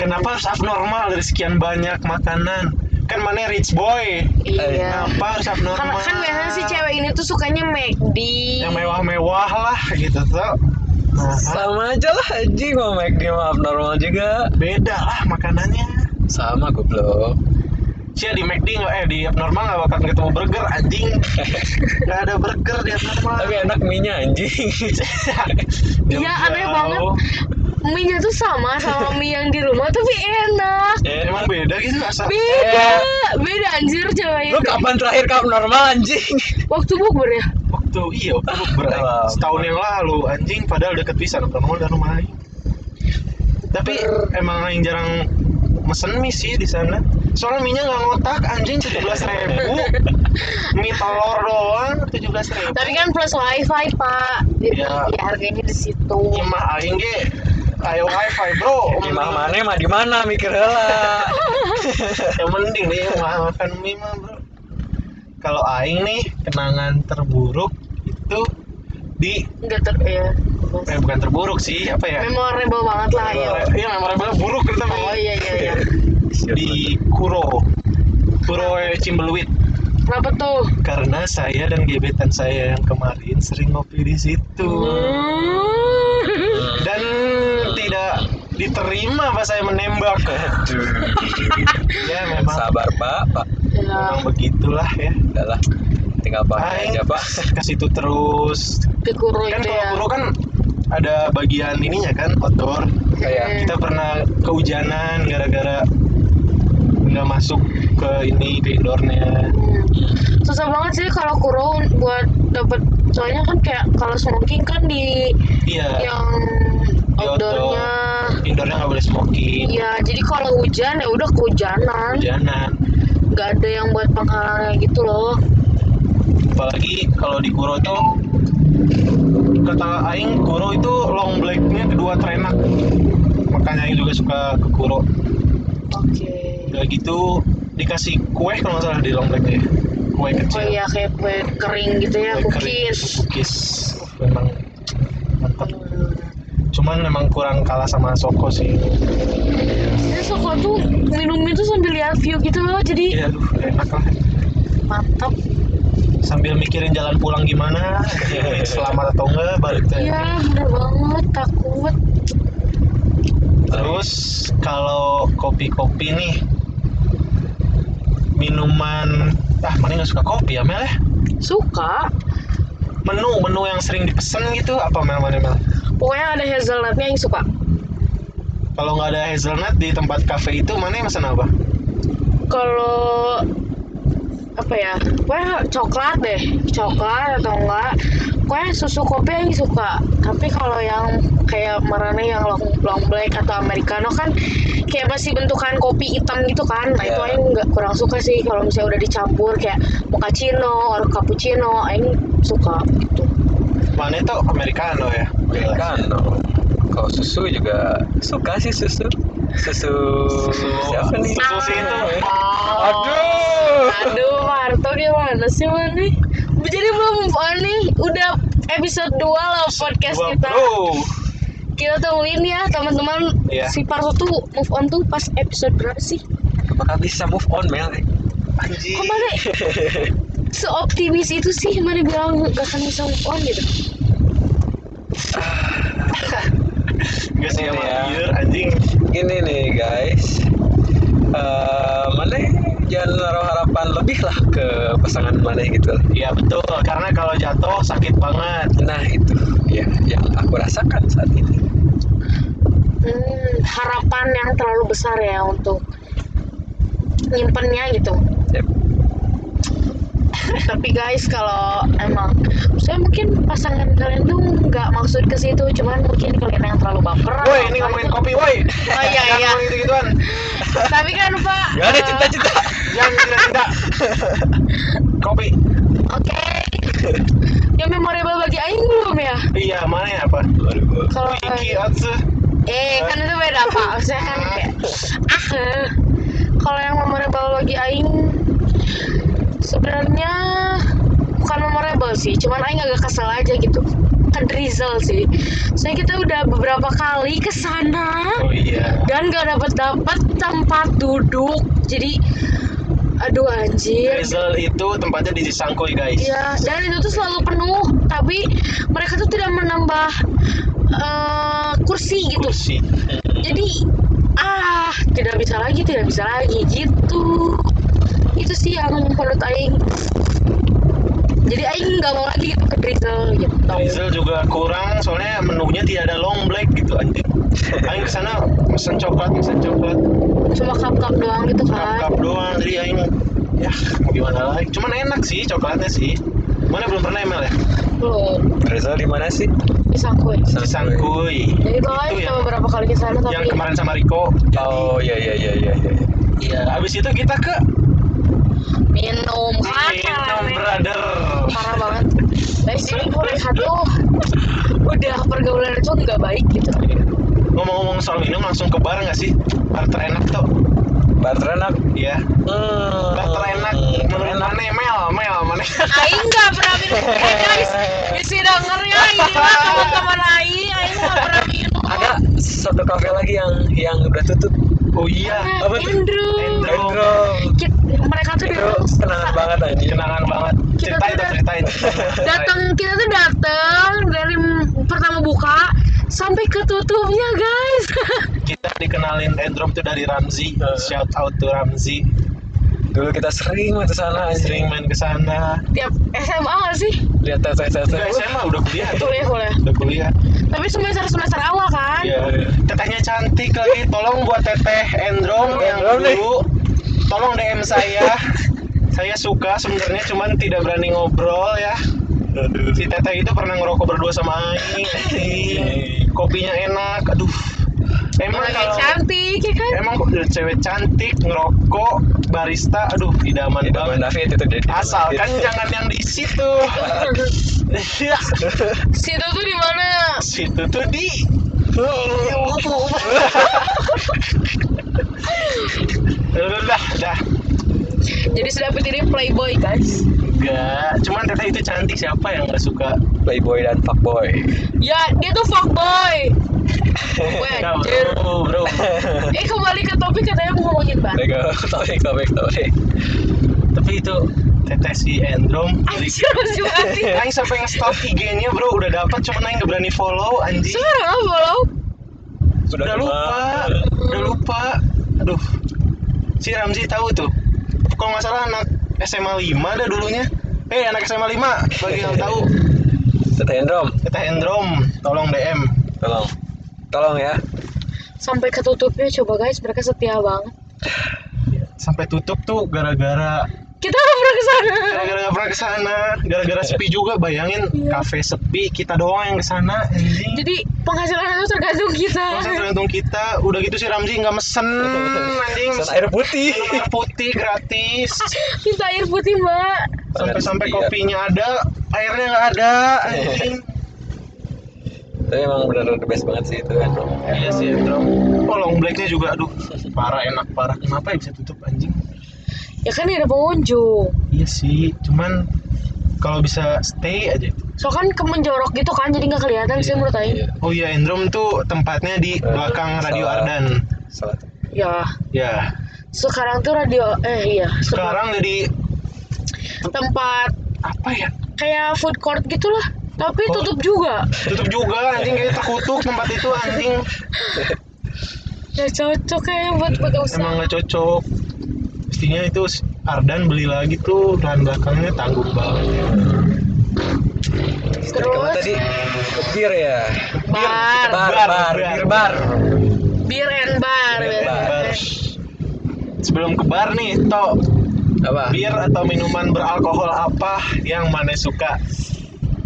Speaker 3: kenapa harus abnormal dari sekian banyak makanan kan mana rich boy
Speaker 2: Iya.
Speaker 3: kenapa harus
Speaker 2: Kan,
Speaker 3: abnormal
Speaker 2: kan biasanya si cewek ini tuh sukanya McD.
Speaker 3: yang mewah-mewah lah gitu tuh Nah,
Speaker 1: sama aja lah anjing mau make dia abnormal juga
Speaker 3: beda lah makanannya
Speaker 1: sama goblok
Speaker 3: Cia di McD nggak eh di abnormal nggak bakal ketemu burger anjing nggak ada burger di abnormal
Speaker 1: tapi
Speaker 3: *laughs*
Speaker 1: enak minyak anjing *laughs*
Speaker 2: Iya, aneh banget. Mie-nya tuh sama sama mie yang di rumah tapi enak.
Speaker 1: Eh,
Speaker 3: emang beda gitu asal
Speaker 2: Beda,
Speaker 3: Eh.
Speaker 2: beda anjir cewek
Speaker 1: lu
Speaker 2: ini.
Speaker 1: kapan terakhir ke abnormal anjing
Speaker 2: Waktu bukber ya.
Speaker 3: waktu iya waktu bukber anjing.
Speaker 1: Alam.
Speaker 3: setahun yang lalu anjing padahal deket pisan abnormal dan rumah aing. tapi emang aing jarang mesen mie sih di sana soalnya mie nya nggak ngotak anjing tujuh belas
Speaker 2: *laughs*
Speaker 3: ribu mie telur doang tujuh belas ribu
Speaker 2: Tapi kan plus wifi pak, jadi
Speaker 3: Iya.
Speaker 2: ya harganya di situ.
Speaker 3: imah aing ge ayo wifi bro
Speaker 1: Imah mana mah di mana mikir heula.
Speaker 3: yang ya mending nih mah makan mie mah bro kalau aing nih kenangan terburuk itu di
Speaker 2: Enggak ter, ya.
Speaker 3: eh bukan terburuk sih apa ya
Speaker 2: Memorable banget lah ya.
Speaker 3: iya memorable buruk gitu
Speaker 2: Oh iya iya iya.
Speaker 3: di Kuro Kuro Cimbeluit
Speaker 2: Kenapa tuh?
Speaker 3: karena saya dan gebetan saya yang kemarin sering ngopi di situ
Speaker 2: Hmm.
Speaker 3: dan tidak diterima pas saya menembak *laughs*
Speaker 1: Aduh.
Speaker 3: ya memang
Speaker 1: Sabar Pak, Pak.
Speaker 2: Ya.
Speaker 3: memang begitulah ya
Speaker 1: Udahlah. Tinggal pakai
Speaker 3: Aing
Speaker 1: aja Pak.
Speaker 3: ke situ terus
Speaker 2: Di kuro
Speaker 3: kan
Speaker 2: itu
Speaker 3: kalau
Speaker 2: ya.
Speaker 3: Kuro kan ada bagian ininya kan kotor
Speaker 2: Hmm.
Speaker 1: Kayak
Speaker 3: kita pernah kehujanan gara-gara nggak masuk ke ini ke indoornya
Speaker 2: Hmm. Susah banget sih kalau kuro buat dapet soalnya kan kayak kalau smoking kan di
Speaker 3: iya
Speaker 2: yang outdoornya
Speaker 3: indoornya nggak boleh smoking
Speaker 2: Iya, jadi kalau hujan ya udah kehujanan,
Speaker 3: hujanan
Speaker 2: nggak ada yang buat penghalangnya gitu loh.
Speaker 3: apalagi kalau di Kuro tuh kata Aing Kuro itu long blacknya kedua terenak makanya Aing juga suka ke Kuro
Speaker 2: Oke.
Speaker 3: udah gitu dikasih kue kalau nggak salah di long blacknya ya. kue kecil
Speaker 2: Oh iya kayak kue kering gitu ya,
Speaker 3: Kue kering,
Speaker 2: cookies.
Speaker 3: cookies memang mantap cuman memang kurang kalah sama Soko sih
Speaker 2: Jadi Soko Iya. tuh minumnya tuh sambil lihat view gitu loh,
Speaker 3: ya
Speaker 2: jadi
Speaker 3: aduh enak lah
Speaker 2: mantap.
Speaker 3: sambil mikirin jalan pulang gimana *laughs* selamat atau enggak balik teh.
Speaker 2: Iya, bener banget, takut.
Speaker 3: Terus kalau kopi-kopi nih minuman ah mana nggak suka kopi ya Mel ya?
Speaker 2: Suka.
Speaker 3: Menu menu yang sering dipesen gitu apa Mel mana Mel?
Speaker 2: Pokoknya ada hazelnutnya yang suka.
Speaker 3: Kalau nggak ada hazelnut di tempat kafe itu mana yang pesen apa?
Speaker 2: Kalau apa ya? Pokoknya coklat deh, coklat atau enggak. Pokoknya susu kopi yang suka. Tapi kalau yang kayak marane yang long, long black atau americano kan kayak masih bentukan kopi hitam gitu kan. Nah, itu
Speaker 1: Iya.
Speaker 2: aing nggak kurang suka sih kalau misalnya udah dicampur kayak mochaccino or cappuccino, aing suka gitu.
Speaker 3: Mana itu americano ya?
Speaker 1: kan. no. Kalau susu juga suka sih susu. Susu Nah, siapa nih?
Speaker 3: Susu sih itu.
Speaker 1: Aduh.
Speaker 2: Aduh, Marto dia mana sih Mani? Jadi belum Mani udah episode 2 loh podcast
Speaker 3: Wah,
Speaker 2: kita.
Speaker 3: bro.
Speaker 2: Kita tungguin ya teman-teman.
Speaker 3: Iya.
Speaker 2: Si Parto tuh move on tuh pas episode berapa sih?
Speaker 1: Apakah bisa move on Mel?
Speaker 3: Anjing.
Speaker 2: Kok
Speaker 3: *laughs*
Speaker 2: Mane seoptimis itu sih Mane bilang gak akan bisa move on gitu.
Speaker 3: Nggak sih sama
Speaker 1: Iya.
Speaker 2: ya?
Speaker 3: dia, anjing.
Speaker 1: Gini nih guys. Eh, mana jangan naruh harapan lebih lah ke pasangan mana gitu lah.
Speaker 3: Iya betul, karena kalau jatuh sakit banget.
Speaker 1: Nah itu ya yang aku rasakan saat ini.
Speaker 2: Hmm, harapan yang terlalu besar ya untuk nyimpennya gitu.
Speaker 1: Yep.
Speaker 2: tapi guys kalau emang saya mungkin pasangan kalian tuh nggak maksud ke situ cuman mungkin kalian yang terlalu baperan
Speaker 3: Woi, ini ngomongin kopi, woi.
Speaker 2: Oh, iya,
Speaker 3: Jangan
Speaker 2: iya.
Speaker 3: ngomongin gitu-gituan.
Speaker 2: tapi kan pak
Speaker 1: Gak ada
Speaker 2: eh,
Speaker 1: cinta-cinta.
Speaker 3: Jangan cinta-cinta.
Speaker 2: *laughs*
Speaker 3: Kopi.
Speaker 2: oke yang memorable bagi Aing belum ya
Speaker 3: Iya, mana ya apa?
Speaker 2: kalau
Speaker 3: Iki atsu.
Speaker 2: eh kan itu beda pak saya kan kayak ah eh. kalau yang memorable bagi Aing sebenarnya bukan memorable sih cuman Aing agak kesel aja gitu kan Rizal sih saya kita udah beberapa kali ke sana
Speaker 3: Oh iya.
Speaker 2: dan gak dapat dapat tempat duduk jadi aduh anjir
Speaker 3: Drizzle itu tempatnya di Cisangkuy, guys.
Speaker 2: Iya, dan itu tuh selalu penuh, tapi mereka tuh tidak menambah eh, kursi gitu.
Speaker 3: Kursi.
Speaker 1: Hmm.
Speaker 2: Jadi ah, tidak bisa lagi, tidak bisa lagi gitu. Itu sih yang menurut aing. Jadi aing nggak mau lagi gitu ke drizzle gitu.
Speaker 3: Drizzle juga kurang soalnya menunya tidak ada long black gitu
Speaker 2: *laughs*
Speaker 3: anjing. Aing kesana pesen coklat, pesen coklat,
Speaker 2: Cuma cup-cup doang gitu kan.
Speaker 3: cup-cup doang. Jadi aing ya mau gimana lagi. Cuman enak sih coklatnya sih. Mana belum pernah email ya?
Speaker 2: Belum
Speaker 1: Rizal di mana sih?
Speaker 2: bisa kue.
Speaker 3: Cisangkuy.
Speaker 2: Jadi kalau aing
Speaker 3: Itu
Speaker 2: kita
Speaker 3: yang-
Speaker 2: beberapa kali ke sana
Speaker 3: Gitu ya. yang
Speaker 2: tapi
Speaker 3: kemarin sama Riko.
Speaker 1: Oh iya iya iya iya. iya.
Speaker 3: Iya. Habis itu kita ke
Speaker 2: minum kan
Speaker 3: Minum Brother.
Speaker 2: parah banget Nah, guys jadi gue lihat tuh udah pergaulan itu nggak baik gitu
Speaker 3: Ngomong-ngomong soal minum langsung ke bar nggak sih? Bar terenak tuh.
Speaker 1: Bar terenak.
Speaker 3: Iya.
Speaker 1: Hmm.
Speaker 3: Bar terenak
Speaker 2: Eh,
Speaker 3: menurut mana Mel, Mel mana?
Speaker 2: Aing nggak pernah minum eh guys isi dengernya inilah teman-teman Aing Aing nggak pernah minum
Speaker 1: Ada satu kafe lagi yang yang udah tutup.
Speaker 3: *laughs* Oh iya.
Speaker 2: Eh.
Speaker 1: apa tuh?
Speaker 2: Andrew
Speaker 3: Andrew.
Speaker 1: Endro.
Speaker 2: Ki- Nah, mereka tuh
Speaker 1: Endro
Speaker 2: datang
Speaker 1: kenangan banget anjing.
Speaker 3: Kenangan banget.
Speaker 2: Kita
Speaker 3: Ceritain tuh
Speaker 2: tuh udah-
Speaker 3: ceritain.
Speaker 2: datang kita tuh datang dari m- pertama buka sampai ketutupnya guys
Speaker 3: *laughs*
Speaker 2: *laughs*
Speaker 3: Kita dikenalin Endrop tuh dari Ramzi.
Speaker 2: Eh.
Speaker 1: Heeh.
Speaker 3: Shout out to Ramzi.
Speaker 1: Dulu kita sering banget ke sana anjing.
Speaker 3: Sering main ke sana.
Speaker 2: tiap SMA nggak sih
Speaker 1: Lihat teteh teteh.
Speaker 3: Udah SMA udah kuliah. ya?
Speaker 2: kuliah kuliah
Speaker 3: Udah kuliah.
Speaker 2: tapi semester semester awal kan
Speaker 3: Iya. Tetehnya cantik lagi. Tolong buat teteh Endrom yang
Speaker 1: Endrom nih.
Speaker 3: dulu. Tolong DM saya. saya suka sebenarnya cuman tidak berani ngobrol ya.
Speaker 1: Aduh.
Speaker 3: Si teteh itu pernah ngerokok berdua sama Aing. Anjing. Kopinya enak. Aduh. Emang
Speaker 2: Orangnya
Speaker 3: kalau
Speaker 2: cantik ya kan
Speaker 3: emang cewek cantik ngerokok barista aduh idaman
Speaker 1: Tidak
Speaker 3: banget
Speaker 1: David itu dia.
Speaker 3: asalkan jangan yang di situ Iya,
Speaker 2: situ tuh di mana
Speaker 3: situ tuh di Oh. udah dah dah
Speaker 2: jadi sudah ini playboy guys
Speaker 3: enggak cuman teteh itu cantik siapa yang nggak suka
Speaker 1: Playboy dan fuckboy.
Speaker 2: ya dia tuh fuckboy Eh,
Speaker 3: Nah,
Speaker 2: Wajar.
Speaker 3: bro bro
Speaker 2: eh kembali ke topik katanya mau ngomongin ban
Speaker 1: *laughs* Lego topik topik topik.
Speaker 3: tapi itu teteh si Endrom jadi-
Speaker 2: anjir masih mati
Speaker 3: Aing sampai nge-stalk IG-nya bro udah dapat cuman Aing nggak berani follow anjing
Speaker 2: sekarang apa follow
Speaker 1: Sudah
Speaker 3: udah lupa udah lupa aduh si Ramzi tahu tuh kalau nggak salah anak SMA 5 dah dulunya eh anak SMA 5 bagi yang tahu
Speaker 1: Teteh Endrom,
Speaker 3: kita Endrom tolong DM
Speaker 1: tolong. Tolong ya.
Speaker 2: sampai ketutupnya coba guys mereka setia banget
Speaker 3: sampai tutup tuh gara-gara
Speaker 2: kita nggak pernah kesana
Speaker 3: gara-gara nggak pernah kesana gara-gara sepi juga bayangin kafe sepi kita doang yang kesana anjing
Speaker 2: Iya. jadi penghasilan itu tergantung kita
Speaker 3: Masa tergantung kita udah gitu si Ramzi nggak mesen Hmm, anjing
Speaker 1: Pesan
Speaker 3: mesen
Speaker 1: air putih.
Speaker 3: air putih
Speaker 2: *laughs*
Speaker 3: gratis
Speaker 2: kita air putih mbak
Speaker 3: sampai-sampai
Speaker 1: Iya.
Speaker 3: kopinya ada airnya nggak ada
Speaker 1: *laughs*
Speaker 3: anjing
Speaker 1: Tapi emang benar-benar the best banget sih itu kan, Endrom.
Speaker 3: Iya sih, Endrom. Oh, long blacknya juga, aduh, parah enak parah. Kenapa ya bisa tutup anjing?
Speaker 2: ya kan tidak ada pengunjung
Speaker 3: Iya sih, cuman kalau bisa stay aja.
Speaker 2: so kan kemenjorok gitu kan jadi nggak kelihatan sih menurut Aing
Speaker 1: Iya,
Speaker 3: Oh iya, Endrom tuh tempatnya di belakang Radio
Speaker 1: Eh, Salah.
Speaker 3: Ardan.
Speaker 1: salah. tuh.
Speaker 2: ya
Speaker 3: Ya,
Speaker 2: sekarang tuh radio eh iya sekarang
Speaker 3: sekarang jadi
Speaker 2: tempat
Speaker 3: apa ya?
Speaker 2: kayak food court gitulah tapi
Speaker 3: Court.
Speaker 2: tutup juga
Speaker 3: Tutup juga anjing kayaknya terkutuk tempat itu anjing.
Speaker 2: ya cocok ya buat pakai usaha
Speaker 3: Emang nggak cocok. Pastinya itu Ardan beli lagi tuh dan belakangnya tanggung banget.
Speaker 1: Jadi kamu
Speaker 2: terus
Speaker 1: tadi bir ya.
Speaker 2: bar
Speaker 1: Bar,
Speaker 3: Bar,
Speaker 1: bar,
Speaker 3: bar.
Speaker 1: bir bar.
Speaker 2: beer and bar
Speaker 1: Beer and bar.
Speaker 3: Bar. Sebelum ke bar nih, Tok.
Speaker 1: Apa?
Speaker 3: bir atau minuman beralkohol apa yang mana suka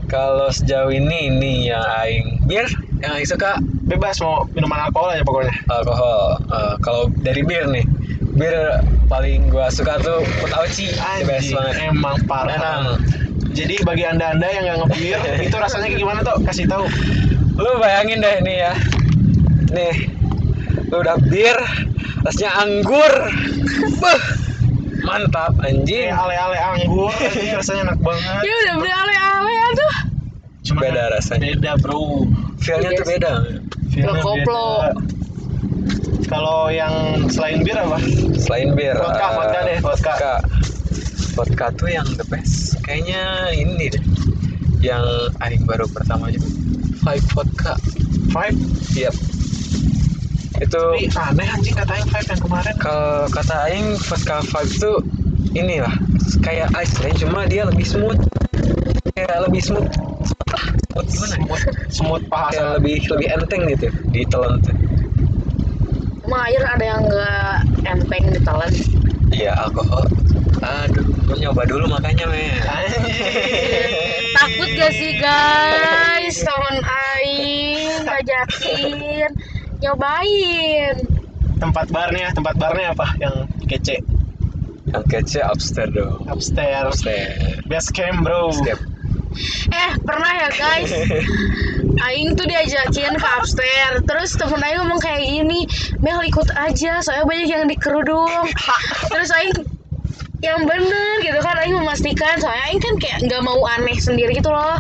Speaker 1: Kalau sejauh ini ini yang aing bir yang aing suka
Speaker 3: bebas mau minuman alkohol aja pokoknya
Speaker 1: alkohol. Eh, kalau dari bir nih, bir paling gua suka tuh Kotauci, the best
Speaker 3: Anjing,
Speaker 1: banget.
Speaker 3: emang parah
Speaker 1: Enak.
Speaker 3: jadi bagi anda anda yang nggak ngebir
Speaker 1: *laughs*
Speaker 3: itu rasanya kayak gimana tuh kasih tahu
Speaker 1: Lu bayangin deh nih ya. Nih. Lu udah bir, rasanya
Speaker 3: *laughs*
Speaker 1: anggur. Beuh, Mantap anjing.
Speaker 3: kayak ale-ale anggur anjing, rasanya enak banget
Speaker 2: Ya udah beli ale-ale ya tuh.
Speaker 3: Cuman
Speaker 1: Beda rasanya.
Speaker 3: beda bro
Speaker 1: Feel-nya
Speaker 3: iya
Speaker 1: tuh beda.
Speaker 3: Feel-nya beda.
Speaker 2: koplo.
Speaker 3: kalau yang selain bir apa
Speaker 1: Selain bir.
Speaker 3: Vodka,
Speaker 1: eh,
Speaker 3: vodka deh, vodka.
Speaker 1: vodka. Vodka tuh yang the best. Kayaknya ini deh. Yang aing baru pertama juga. Five vodka.
Speaker 3: vibe
Speaker 1: Yap. Itu
Speaker 3: Tapi aneh anjing katanya vibe yang kemarin
Speaker 1: kalau kata aing vodka five tuh ini lah kayak ice cream cuma dia lebih smooth kayak lebih smooth Smooth lah. Smooth gimana ya?
Speaker 3: semut semut paha
Speaker 1: kayak
Speaker 3: sama
Speaker 1: lebih lebih enteng gitu ditelan tuh
Speaker 2: Emang air ada yang nggak enteng ditelan.
Speaker 1: iya alkohol aduh gua nyoba dulu makanya men
Speaker 3: Kan? Anjing.
Speaker 2: Takut gak sih guys? Temen Aing ngajakin nyobain.
Speaker 3: tempat barnya tempat barnya apa yang kece
Speaker 1: yang kece upstairs dong
Speaker 3: upstairs
Speaker 1: upstairs
Speaker 3: best camp bro
Speaker 1: Step.
Speaker 2: Eh pernah ya guys? Aing tuh diajakin ke upstairs Terus temen Aing ngomong kayak gini Mel ikut aja soalnya banyak yang dikerudung Terus Aing yang bener gitu kan Aing memastikan soalnya Aing kan kayak nggak mau aneh sendiri gitu loh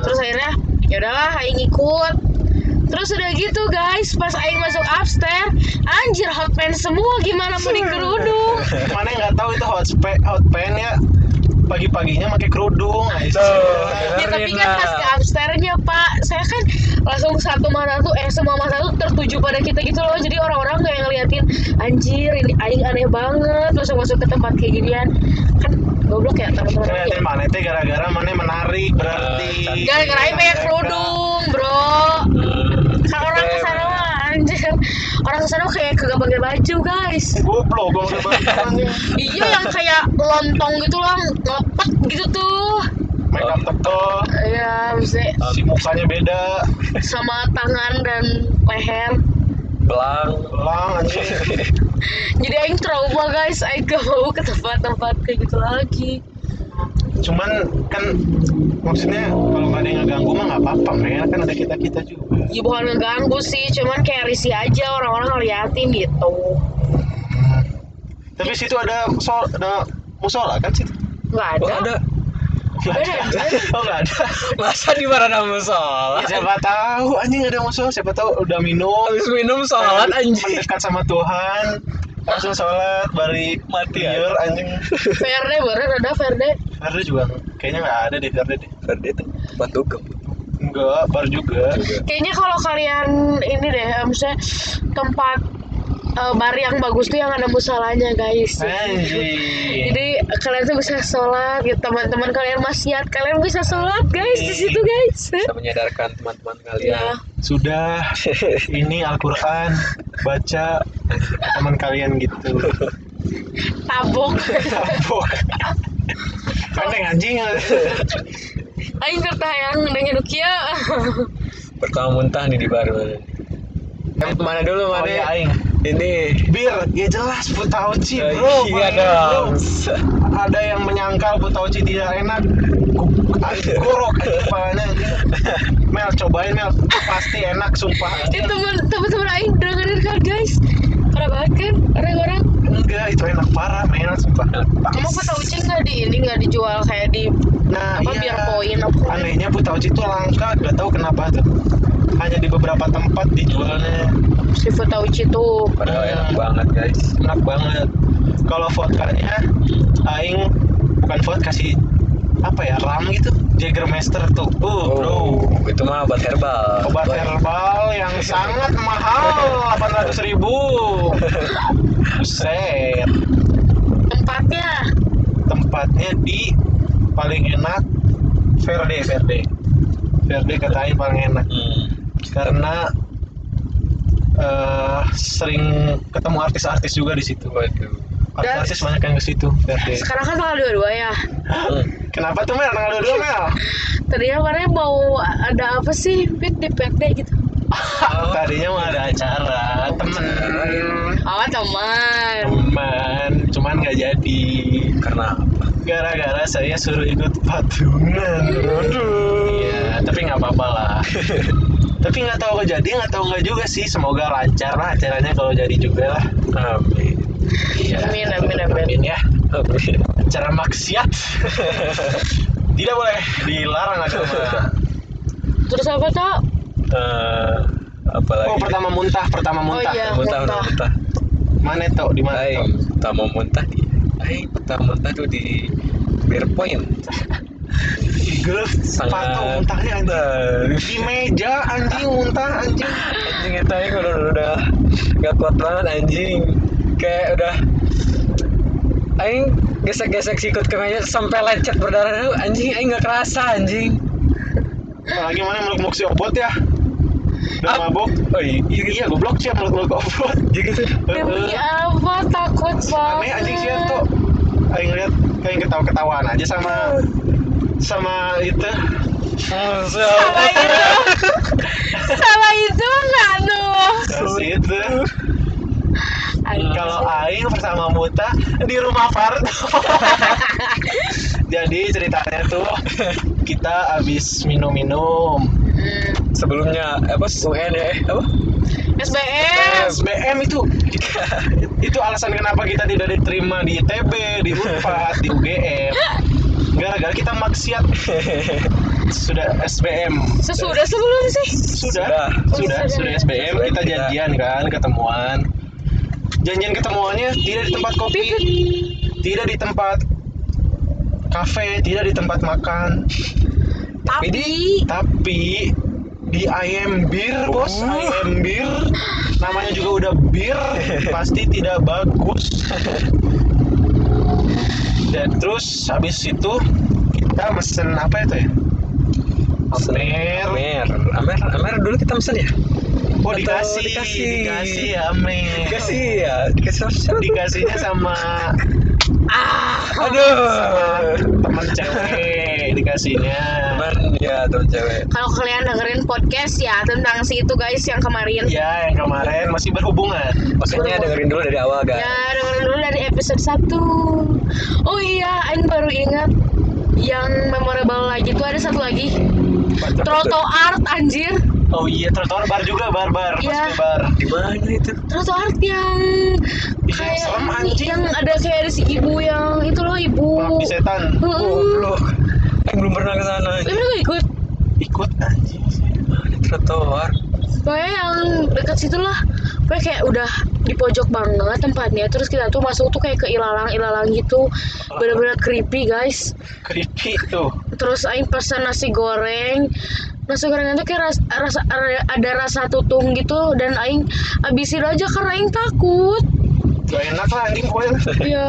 Speaker 2: Terus akhirnya ya udahlah Aing ikut Terus udah gitu guys pas Aing masuk upstairs Anjir hotman semua gimana mau dikerudung
Speaker 3: mana yang nggak tahu itu hot spe- hot pan ya pagi-paginya pakai kerudung anjing.
Speaker 1: Tuh.
Speaker 2: Ya tapi
Speaker 1: Dengerin
Speaker 2: kan
Speaker 1: lah.
Speaker 2: pas ke upstairs-nya Pak Saya kan langsung satu mata tuh Eh semua mata tuh tertuju pada kita gitu loh Jadi orang-orang kayak ngeliatin Anjir ini aing aneh banget Langsung masuk ke tempat kayak ginian Kan goblok ya teman-teman
Speaker 3: Ternyata mana itu gara-gara mana menarik berarti
Speaker 1: Eh,
Speaker 2: Gara-gara aing banyak kerudung bro Kan orang kesana mah anjir Orang kesana mah kayak kagak pakai baju guys
Speaker 3: goblok gue udah banget anjing.
Speaker 2: Iya yang kayak lontong gitu loh Ngelepet gitu tuh
Speaker 3: make up tebel
Speaker 2: Iya maksudnya
Speaker 3: si mukanya Eh, beda
Speaker 2: sama tangan dan leher
Speaker 1: belang
Speaker 3: lang anjing
Speaker 1: *laughs*
Speaker 2: jadi aing trauma guys aing gak mau ke tempat-tempat kayak gitu lagi
Speaker 3: cuman kan maksudnya kalau nggak ada yang ngeganggu mah nggak apa-apa men kan ada kita kita juga
Speaker 2: ya bukan ngeganggu sih cuman kayak risih aja orang-orang ngeliatin gitu
Speaker 3: tapi situ ada sol ada musola kan situ
Speaker 2: nggak
Speaker 1: oh,
Speaker 2: ada *laughs*
Speaker 1: ada
Speaker 3: Nggak
Speaker 2: Ada, ada.
Speaker 3: oh nggak ada
Speaker 1: masa di mana musola
Speaker 3: Ya, siapa tahu anjing ada musola siapa tahu udah minum
Speaker 1: habis minum sholat anjing
Speaker 3: mendekat sama Tuhan langsung sholat balik
Speaker 1: Mati, ya?
Speaker 3: liur anjing
Speaker 2: Verde beneran ada Verde
Speaker 3: Verde juga kayaknya nggak ada deh Verde deh
Speaker 1: Berarti itu batu gem
Speaker 3: enggak bar juga
Speaker 2: kayaknya kalau kalian ini deh misalnya tempat eh, bar yang bagus tuh yang ada musolanya guys
Speaker 3: anjing
Speaker 2: jadi kalian tuh bisa sholat gitu teman-teman kalian maksiat kalian bisa sholat guys di situ guys
Speaker 1: bisa menyadarkan teman-teman kalian
Speaker 2: ya
Speaker 3: sudah
Speaker 2: Iya.
Speaker 1: *laughs*
Speaker 3: ini Al-Quran baca teman kalian gitu
Speaker 2: tabok *laughs*
Speaker 3: Tabok. Aneh anjing
Speaker 2: Aing tertayang dengan Nukia. *laughs*
Speaker 1: pertama muntah nih di bar mana Eh, mana dulu
Speaker 3: Oh
Speaker 1: mana
Speaker 3: iya aing
Speaker 1: ini
Speaker 3: Bir, ya jelas Putauci
Speaker 1: Eh,
Speaker 3: bro
Speaker 1: iya
Speaker 3: paling
Speaker 1: dong
Speaker 3: bro. Ada yang menyangkal Putauci tidak enak Gu- anjing, Gorok aja kepalanya anjing. Mel, cobain Mel Pasti enak, sumpah
Speaker 2: Eh temen temen temen Aing dengerin kan guys. Parah banget kan orang-orang.
Speaker 3: Enggak, itu enak parah, Mel, sumpah
Speaker 2: Emang kota ucing nggak di ini nggak dijual kayak di
Speaker 3: Nah,
Speaker 2: Apa, biar poin apa?
Speaker 3: Anehnya Putauci itu langka, gak tahu kenapa tuh Hanya di beberapa tempat dijualnya
Speaker 2: seafood uci tuh.
Speaker 1: padahal enak banget guys
Speaker 3: enak banget kalau vodkanya aing bukan vodka sih apa ya ram gitu Jagermeister tuh uh, bro
Speaker 1: oh itu mah obat herbal
Speaker 3: obat herbal yang sangat mahal 800 ribu buset
Speaker 2: Tempatnya
Speaker 3: tempatnya di paling enak Verde Verde Verde kata aing paling enak
Speaker 1: Hmm.
Speaker 3: karena eh, sering ketemu artis-artis juga di situ
Speaker 1: waduh
Speaker 2: Dan-
Speaker 3: artis banyak yang ke situ Ferdi.
Speaker 2: Sekarang kan tanggal dua-dua ya.
Speaker 1: *laughs* Hmm.
Speaker 3: Kenapa tuh Mel tanggal 22 Mel?
Speaker 2: Tadinya kemarin mau ada apa sih Fit, di PRD gitu.
Speaker 3: Oh, Tadinya mau ada acara temen
Speaker 2: Oh teman.
Speaker 3: teman cuman nggak jadi
Speaker 1: karena apa?
Speaker 3: gara-gara saya suruh ikut patungan Iya, tapi nggak apa-apa *laughs* lah tapi nggak tahu kalau jadi nggak tahu nggak juga sih semoga lancar lah acaranya kalau jadi juga lah
Speaker 1: Amin.
Speaker 3: Iya.
Speaker 2: Amin, amin, amin.
Speaker 3: ya
Speaker 1: Amin.
Speaker 3: acara maksiat *laughs* tidak boleh dilarang agama
Speaker 2: Terus apa tuh?
Speaker 1: Eh, apalagi?
Speaker 3: oh pertama muntah pertama muntah
Speaker 2: Oh, iya.
Speaker 1: muntah, muntah,
Speaker 2: Muntah.
Speaker 1: muntah.
Speaker 3: mana tuh di mana
Speaker 1: Aing
Speaker 3: tuh
Speaker 1: pertama muntah di Aing pertama muntah tuh di Beer Point.
Speaker 3: di gelap sepatu muntahnya anjing.
Speaker 1: anjing.
Speaker 3: di meja anjing muntah anjing
Speaker 1: Anjing itu Aing udah, udah, udah gak kuat banget anjing. Kayak udah Aing gesek-gesek sikut ke meja sampai lecet berdarah tuh anjing Aing gak kerasa anjing.
Speaker 3: apalagi mana meluk-meluk si obot ya udah
Speaker 1: Ap-
Speaker 3: mabok
Speaker 1: Oh iya, iya gitu.
Speaker 3: iya goblok siap meluk-meluk obot
Speaker 1: Iya gitu.
Speaker 3: Eh,
Speaker 2: Demi apa takut
Speaker 3: aneh
Speaker 2: banget.
Speaker 3: anjing siap tuh kayak ngeliat kayak ketawa-ketawaan aja sama sama itu
Speaker 1: Masya
Speaker 3: Iya.
Speaker 2: Sama
Speaker 1: Allah.
Speaker 2: itu. Sama itu enggak tuh.
Speaker 3: terus itu
Speaker 2: Anjing.
Speaker 3: kalau Aing bersama Muta di rumah Farto *laughs* jadi ceritanya tuh kita abis minum-minum
Speaker 2: Hmm.
Speaker 1: Sebelumnya apa UN ya? eh, Apa? *laughs*
Speaker 2: SBM.
Speaker 3: SBM itu itu alasan kenapa kita tidak diterima di ITB, di Unpad, di UGM. Gara-gara kita maksiat sudah SBM.
Speaker 2: Sesudah sebelum sih.
Speaker 3: Sudah, sudah,
Speaker 1: Sudah.
Speaker 2: Sudah.
Speaker 3: sudah SBM kita
Speaker 1: Sudah.
Speaker 3: janjian kan ketemuan. Janjian ketemuannya tidak di tempat kopi, tidak di tempat kafe, tidak di tempat makan,
Speaker 2: Tapi
Speaker 3: tapi di ayam bir bos
Speaker 1: Uh.
Speaker 3: ayam bir namanya juga udah bir pasti tidak bagus dan terus habis itu kita mesen apa itu ya Amer,
Speaker 1: Amer, Amer, Amer dulu kita mesen ya?
Speaker 3: oh
Speaker 1: Atau
Speaker 3: dikasih,
Speaker 1: dikasih.
Speaker 3: dikasih, Amer,
Speaker 1: Dikasih ya, dikasih sama siapa? *laughs*
Speaker 3: dikasihnya sama
Speaker 2: Ah.
Speaker 1: Aduh.
Speaker 3: teman cewek, dikasihnya.
Speaker 1: Teman ya teman cewek.
Speaker 2: kalau kalian dengerin podcast ya tentang si itu guys yang kemarin.
Speaker 3: Ya, yang kemarin masih berhubungan.
Speaker 1: Makanya dengerin dulu dari awal guys.
Speaker 2: Ya, dengerin dulu dari episode 1 Oh iya, Ain baru ingat yang memorable lagi tuh ada satu lagi Troto Art anjir
Speaker 3: Oh iya, trotoar bar juga, bar bar,
Speaker 2: Iya.
Speaker 3: pasti bar.
Speaker 1: Di mana itu?
Speaker 2: Troto Art yang
Speaker 3: Iya,
Speaker 2: kayak
Speaker 3: serem, anjing.
Speaker 2: yang ada kayak ada si ibu yang itu loh ibu
Speaker 3: Pengabdi setan
Speaker 2: Uh. Hmm. Heeh.
Speaker 1: Goblok. Aku belum pernah ke sana.
Speaker 2: Lu pernah gak ikut?
Speaker 3: ikut anjing.
Speaker 1: Di trotoar.
Speaker 2: Pokoknya yang deket situ lah Pokoknya kayak udah di pojok banget tempatnya Terus kita tuh masuk tuh kayak ke ilalang-ilalang gitu Bener-bener creepy guys
Speaker 3: Creepy tuh.
Speaker 2: Terus Aing pesan nasi goreng Nasi gorengnya tuh kayak ras- rasa, ada- ada rasa tutung gitu Dan Aing abisin aja karena Aing takut
Speaker 3: Gak enak lah anjing pokoknya lah.
Speaker 2: Ya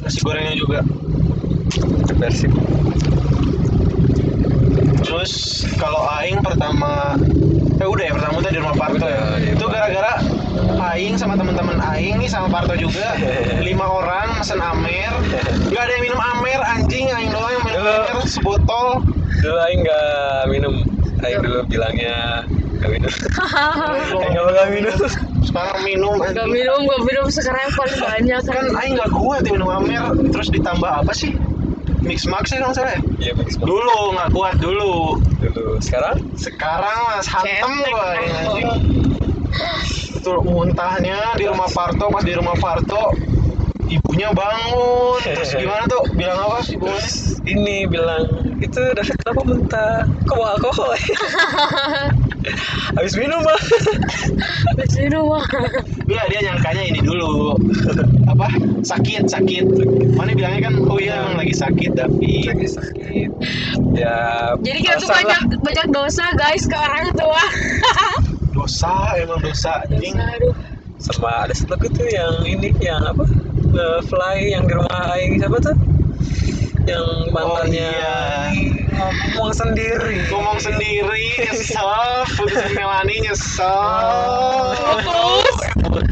Speaker 3: Nasi gorengnya juga.
Speaker 1: Persib.
Speaker 3: Terus kalau Aing pertama Eh udah ya pertama tuh di rumah Parto ya.
Speaker 1: Udah, di
Speaker 3: Itu
Speaker 1: rumah.
Speaker 3: gara-gara Aing sama teman-teman Aing nih sama Parto *laughs* juga lima orang mesen Amer. Gak ada yang minum Amer anjing Aing doang yang minum
Speaker 1: Dulu.
Speaker 3: Amer *laughs* sebotol.
Speaker 1: Dulu aing enggak minum.
Speaker 2: Iya.
Speaker 1: Aing dulu bilangnya enggak minum.
Speaker 3: Iya.
Speaker 1: Aing enggak bakal minum.
Speaker 3: Sekarang minum
Speaker 2: *laughs* Gak
Speaker 3: anjing.
Speaker 2: minum, gak minum sekarang yang paling banyak
Speaker 3: Kan Aing gak kuat ya minum Amer. Terus ditambah apa sih? Mix Max ya kalau nggak salah ya?
Speaker 1: Iya, mix box
Speaker 3: Dulu nggak kuat dulu.
Speaker 1: dulu. Sekarang
Speaker 3: Sekarang mas hantem
Speaker 2: Cetek,
Speaker 3: gua ya,
Speaker 2: ah.
Speaker 3: anjing. Itu muntahnya di rumah Parto pas di rumah Parto ibunya bangun *laughs* terus gimana tuh bilang apa sih ibunya
Speaker 1: terus ini bilang itu David kenapa mentah kok mau alkohol habis minum mah
Speaker 2: Habis minum wah.
Speaker 3: Iya dia nyangkanya ini dulu *laughs* apa sakit sakit mana bilangnya kan oh iya emang lagi sakit tapi
Speaker 1: lagi sakit ya
Speaker 2: Jadi kita tuh
Speaker 1: alasan lah.
Speaker 2: banyak, banyak dosa guys ke orang tua
Speaker 3: dosa emang dosa anjing
Speaker 2: Dosa, *laughs* aduh
Speaker 1: sama ada satu lagi tuh yang ini yang apa eh, fly yang di rumah Aing siapa tuh yang mantannya
Speaker 3: iya.
Speaker 1: ini ngomong sendiri
Speaker 3: ngomong sendiri nyesel putusin Melani nyesel
Speaker 2: Terus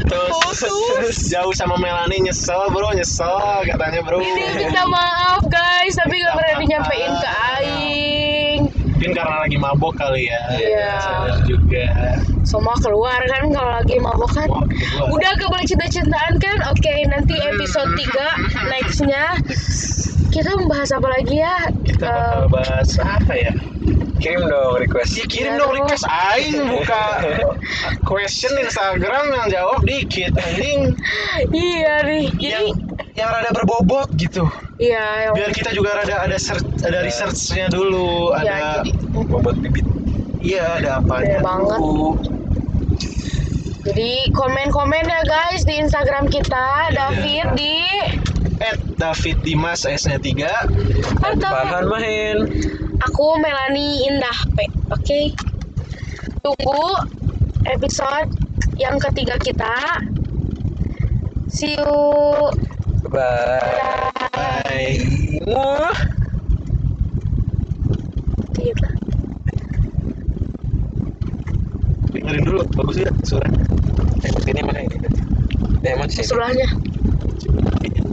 Speaker 3: Eh, putus *laughs* jauh sama Melani nyesel bro nyesel katanya
Speaker 2: *laughs*
Speaker 3: bro
Speaker 2: minta maaf guys tapi nggak pernah dinyampein ke Aing
Speaker 3: mungkin karena lagi mabok kali ya
Speaker 2: Iya.
Speaker 3: sadar juga
Speaker 2: semua keluar kan kalau lagi mabok kan
Speaker 3: Wah, keluar.
Speaker 2: udah kebalik cinta-cintaan kan oke nanti episode 3 nextnya kita membahas apa lagi ya
Speaker 3: kita bakal
Speaker 2: Eh,
Speaker 3: bahas apa ya
Speaker 1: kirim dong request
Speaker 3: Ya
Speaker 2: Iya,
Speaker 3: kirim dong request aing Iya, buka question Instagram yang jawab dikit anjing
Speaker 2: iya nih jadi
Speaker 3: yang yang rada berbobot gitu
Speaker 2: iya yang-
Speaker 3: biar kita juga rada ada search ada researchnya dulu
Speaker 2: Iya,
Speaker 3: ada
Speaker 2: jadi
Speaker 1: *laughs* bobot bibit
Speaker 3: iya ada apa
Speaker 2: Bener banget. jadi komen-komen ya guys di Instagram
Speaker 3: Iya.
Speaker 2: kita David di
Speaker 3: at David Dimas S-nya 3
Speaker 2: atau
Speaker 1: Farhan main
Speaker 2: aku Melani Indah P oke tunggu episode yang ketiga kita see you
Speaker 1: bye
Speaker 3: bye
Speaker 1: Muah.
Speaker 2: Dikit lah.
Speaker 3: dengerin dulu bagus ya suara Eh, ini mana ini ya emang sih
Speaker 2: Sebelahnya.
Speaker 3: Cuma-